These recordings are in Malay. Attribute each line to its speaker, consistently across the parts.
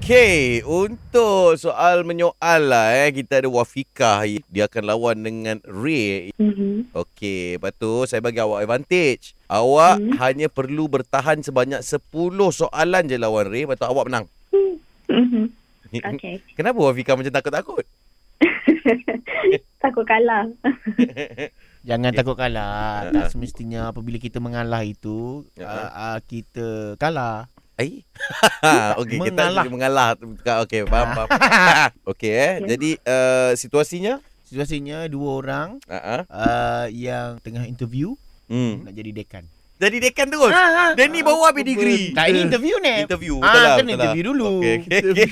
Speaker 1: Okey, untuk soal menyoal lah eh, kita ada Wafika. Dia akan lawan dengan Ray.
Speaker 2: Mm-hmm.
Speaker 1: Okey, lepas tu saya bagi awak advantage. Awak hmm. hanya perlu bertahan sebanyak 10 soalan je lawan Ray, lepas tu awak menang.
Speaker 2: Mm-hmm. Okay.
Speaker 1: Kenapa Wafika macam takut-takut?
Speaker 2: Takut kalah.
Speaker 3: Jangan
Speaker 1: Eh,
Speaker 3: takut kalah. Tak semestinya apabila kita mengalah itu
Speaker 1: Ya.
Speaker 3: uh, uh, kita kalah.
Speaker 1: Eh? Okey, kita
Speaker 3: Mengalah.
Speaker 1: boleh mengalah. Okey, faham, faham. Okey eh.
Speaker 2: Ya.
Speaker 1: Jadi uh, situasinya?
Speaker 3: Situasinya dua orang
Speaker 1: Uh-huh.
Speaker 3: uh, yang tengah interview
Speaker 1: Hmm.
Speaker 3: nak jadi dekan.
Speaker 1: Jadi dekan terus.
Speaker 3: Ah,
Speaker 1: Dia ni bawa pedigree.
Speaker 3: Tak ini interview
Speaker 1: Eh.
Speaker 3: ni.
Speaker 1: Interview. betul lah,
Speaker 3: Ah, kena
Speaker 1: betul lah.
Speaker 3: interview dulu.
Speaker 1: Okey, okey. okey.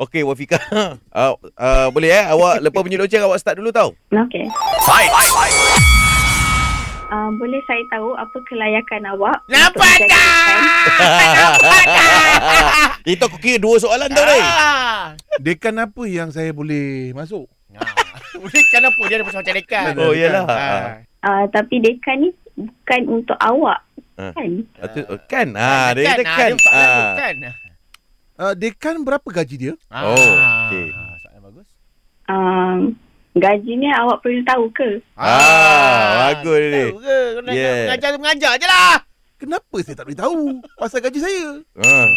Speaker 1: Okey, Wafika. Uh, uh, boleh eh? Awak lepas bunyi loceng awak start dulu tau.
Speaker 2: Okay. Uh, boleh saya tahu apa kelayakan awak? untuk
Speaker 3: Nampak
Speaker 2: menjadi
Speaker 3: Ah, tak?
Speaker 2: dekan?
Speaker 1: kan?
Speaker 3: Nampak tak?
Speaker 1: Itu aku kira dua soalan tau, Ray.
Speaker 3: Ah.
Speaker 4: Dekan apa yang saya boleh masuk?
Speaker 3: Ah. Boleh kenapa dia ada pasal macam dekan?
Speaker 1: Oh, iyalah.
Speaker 3: Ah.
Speaker 2: Uh, tapi dekan ni bukan untuk awak.
Speaker 1: Ah.
Speaker 2: Kan?
Speaker 1: Ah, tu- Kan? Ha, dia
Speaker 3: Dekan.
Speaker 1: dekan.
Speaker 3: ah, Dia
Speaker 1: Ah.
Speaker 3: soalan dekan.
Speaker 4: Uh, dekan berapa gaji dia?
Speaker 3: Ah.
Speaker 1: Oh, okey.
Speaker 3: Soalan bagus.
Speaker 2: Uh, gajinya awak perlu tahu ke?
Speaker 1: Ah, bagus ni.
Speaker 3: Tahu ke? Kau nak
Speaker 1: Yeah.
Speaker 3: mengajar tu mengajar je lah.
Speaker 4: Kenapa saya tak boleh tahu pasal gaji saya?
Speaker 1: Ah.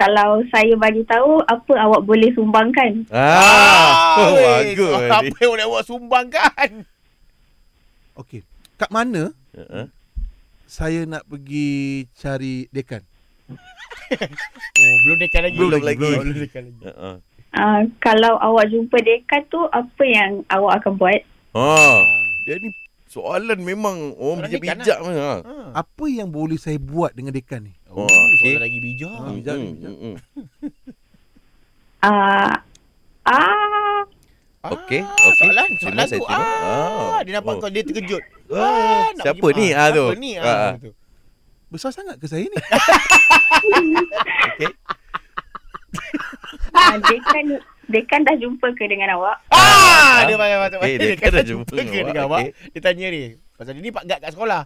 Speaker 2: Kalau saya bagi tahu apa awak boleh sumbangkan?
Speaker 1: Ah, oh,
Speaker 3: weh,
Speaker 1: bagus
Speaker 3: Apa
Speaker 1: ni.
Speaker 3: yang nak awak sumbangkan?
Speaker 4: Okey. Kat mana
Speaker 3: Uh-huh.
Speaker 1: Ah.
Speaker 4: saya nak pergi cari dekan?
Speaker 3: Oh, belum dekat lagi.
Speaker 1: Belum lagi.
Speaker 3: Belum dekat lagi.
Speaker 1: Ah.
Speaker 2: Uh, kalau awak jumpa dekan tu apa yang awak akan buat?
Speaker 1: Ah.
Speaker 3: Ah.
Speaker 1: Dia ni soalan memang orang
Speaker 3: Soalan dekan
Speaker 1: bijak-bijak lah.
Speaker 3: Ah.
Speaker 4: Apa yang boleh saya buat dengan dekan ni?
Speaker 1: Oh,
Speaker 3: Oh,
Speaker 1: okey.
Speaker 3: soalan lagi bijak.
Speaker 4: Ah, bijak.
Speaker 1: Hmm.
Speaker 2: Uh, ah,
Speaker 3: Ah,
Speaker 1: Okey, okey.
Speaker 3: Soalan,
Speaker 1: Terima
Speaker 3: soalan
Speaker 1: kasih,
Speaker 3: tu.
Speaker 1: terima.
Speaker 3: Ah,
Speaker 1: Ah.
Speaker 3: dia nampak
Speaker 1: Oh.
Speaker 3: kau dia terkejut.
Speaker 1: Ah,
Speaker 3: nak
Speaker 1: siapa
Speaker 3: pergi-
Speaker 1: ni? Ah, tu.
Speaker 3: Siapa ni? Ah,
Speaker 1: Ah.
Speaker 3: tu.
Speaker 4: Besar sangat ke saya ni?
Speaker 1: Okey.
Speaker 2: uh, dekan dekan dah jumpa ke dengan awak?
Speaker 1: Ah.
Speaker 3: Ah, dia pakai patut.
Speaker 1: Eh, dia kan dah jumpa dengan
Speaker 3: dengan
Speaker 1: awak.
Speaker 3: awak. Dia tanya ni. Pasal dia ni pak gad kat sekolah.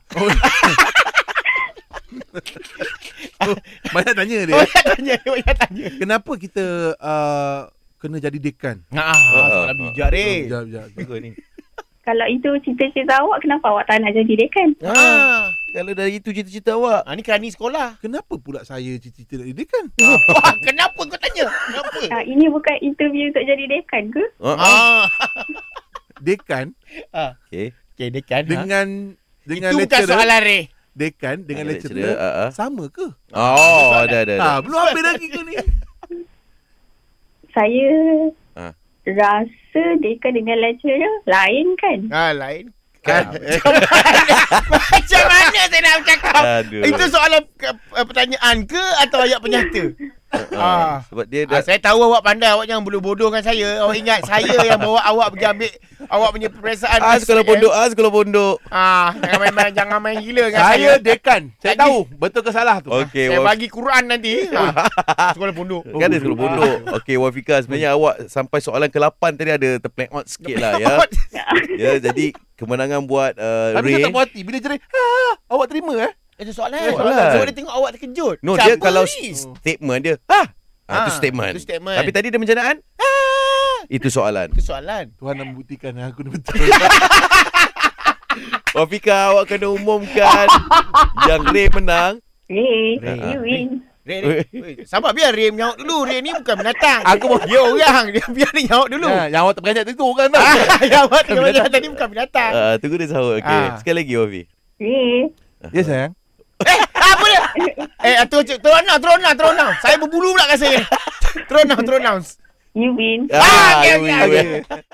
Speaker 4: Banyak tanya dia.
Speaker 3: Banyak tanya, Oh, dia banyak tanya.
Speaker 4: Kenapa kita uh, kena jadi dekan?
Speaker 3: Ah,
Speaker 1: ah.
Speaker 3: soalan bijak ni.
Speaker 4: Sekejap, sekejap, sekejap.
Speaker 1: Bagus ni.
Speaker 2: Kalau itu cita-cita awak, kenapa awak tak nak jadi dekan?
Speaker 1: Ah.
Speaker 3: Ah.
Speaker 1: Kalau dari itu cita-cita awak.
Speaker 3: Ah, ni kerani sekolah.
Speaker 4: Kenapa pula saya cita-cita nak jadi dekan?
Speaker 1: Ah.
Speaker 3: Wah, kenapa kau tanya? Kenapa?
Speaker 2: Uh, ini bukan interview untuk jadi dekan ke?
Speaker 1: Ah.
Speaker 3: Ah.
Speaker 4: Dekan
Speaker 3: Uh-huh.
Speaker 1: Okey.
Speaker 3: Okey, dekan. ha?
Speaker 4: dengan dengan
Speaker 3: Itu bukan
Speaker 4: lecturer.
Speaker 3: soalan Eh, Ray.
Speaker 4: Dekan dengan lecturer.
Speaker 1: Ah, ah.
Speaker 4: Sama ke?
Speaker 1: Oh, dah dah. dah.
Speaker 4: Ah, belum habis lagi ke ni?
Speaker 2: Saya
Speaker 1: Ah.
Speaker 2: rasa dekan dengan lecturer lain kan?
Speaker 3: Ah, lain.
Speaker 1: Kan?
Speaker 3: Ah, macam mana? Macam mana saya nak bercakap?
Speaker 1: Aduh.
Speaker 3: Itu soalan ke- eh, pertanyaan ke atau ayat penyata?
Speaker 1: Ah.
Speaker 3: Ah.
Speaker 1: Sebab dia dah
Speaker 3: Ah, saya tahu awak pandai. Awak jangan bodoh-bodoh dengan saya. Awak ingat saya yang bawa awak pergi ambil awak punya peperiksaan.
Speaker 1: Ah, sekolah
Speaker 3: SPM.
Speaker 1: pondok, ah, sekolah pondok.
Speaker 3: eh. Ah, jangan main-main. jangan main gila dengan saya.
Speaker 4: Saya dekan. Saya
Speaker 3: Lagi.
Speaker 4: tahu betul ke salah tu.
Speaker 1: Okey,
Speaker 3: Saya
Speaker 1: Waf-
Speaker 3: bagi Quran nanti. Ah, sekolah pondok.
Speaker 1: kan ada sekolah pondok. Okey, Wafika, sebenarnya awak sampai soalan ke-8 tadi ada terplank out sikit lah ya. Ya, jadi kemenangan buat uh,
Speaker 4: Tapi saya
Speaker 1: Ray.
Speaker 4: tak puas hati bila jerit. Ha, awak terima eh?
Speaker 3: Itu soalan.
Speaker 1: Soalan.
Speaker 3: soalan. Sebab dia tengok awak terkejut.
Speaker 1: No,
Speaker 3: Siapa
Speaker 1: dia kalau
Speaker 3: ni?
Speaker 1: statement dia, ha. Ah, itu
Speaker 3: Ah,
Speaker 1: statement.
Speaker 3: itu statement.
Speaker 1: Tapi tadi dia mencanaan, ah. Itu soalan.
Speaker 3: Itu soalan.
Speaker 4: Tuhan nak membuktikan aku ni betul.
Speaker 1: Wafika, awak kena umumkan yang Ray menang.
Speaker 2: Ray,
Speaker 1: Ray.
Speaker 2: you win.
Speaker 3: Ray, Ray. Weh, Sabar biar Ray menyaut dulu. Ray ni bukan binatang. Aku mau dia orang. Dia biar dia nyaut dulu.
Speaker 4: Ha, yang awak tak beranjak tu orang tau.
Speaker 3: Ah, yang awak tengok macam tadi bukan binatang.
Speaker 1: Ah, tunggu dia sahut. Okey,
Speaker 3: Ah.
Speaker 1: sekali lagi Wafi.
Speaker 2: Ray.
Speaker 4: Ya sayang.
Speaker 3: Eh, apa dia? Eh, tu tu turun down, turun down, turun down. Saya berbulu pula kat saya. Turun down, turun down.
Speaker 2: You win.
Speaker 3: Ah, okey,
Speaker 1: you
Speaker 3: okey,
Speaker 1: win, you
Speaker 3: okey.
Speaker 1: win.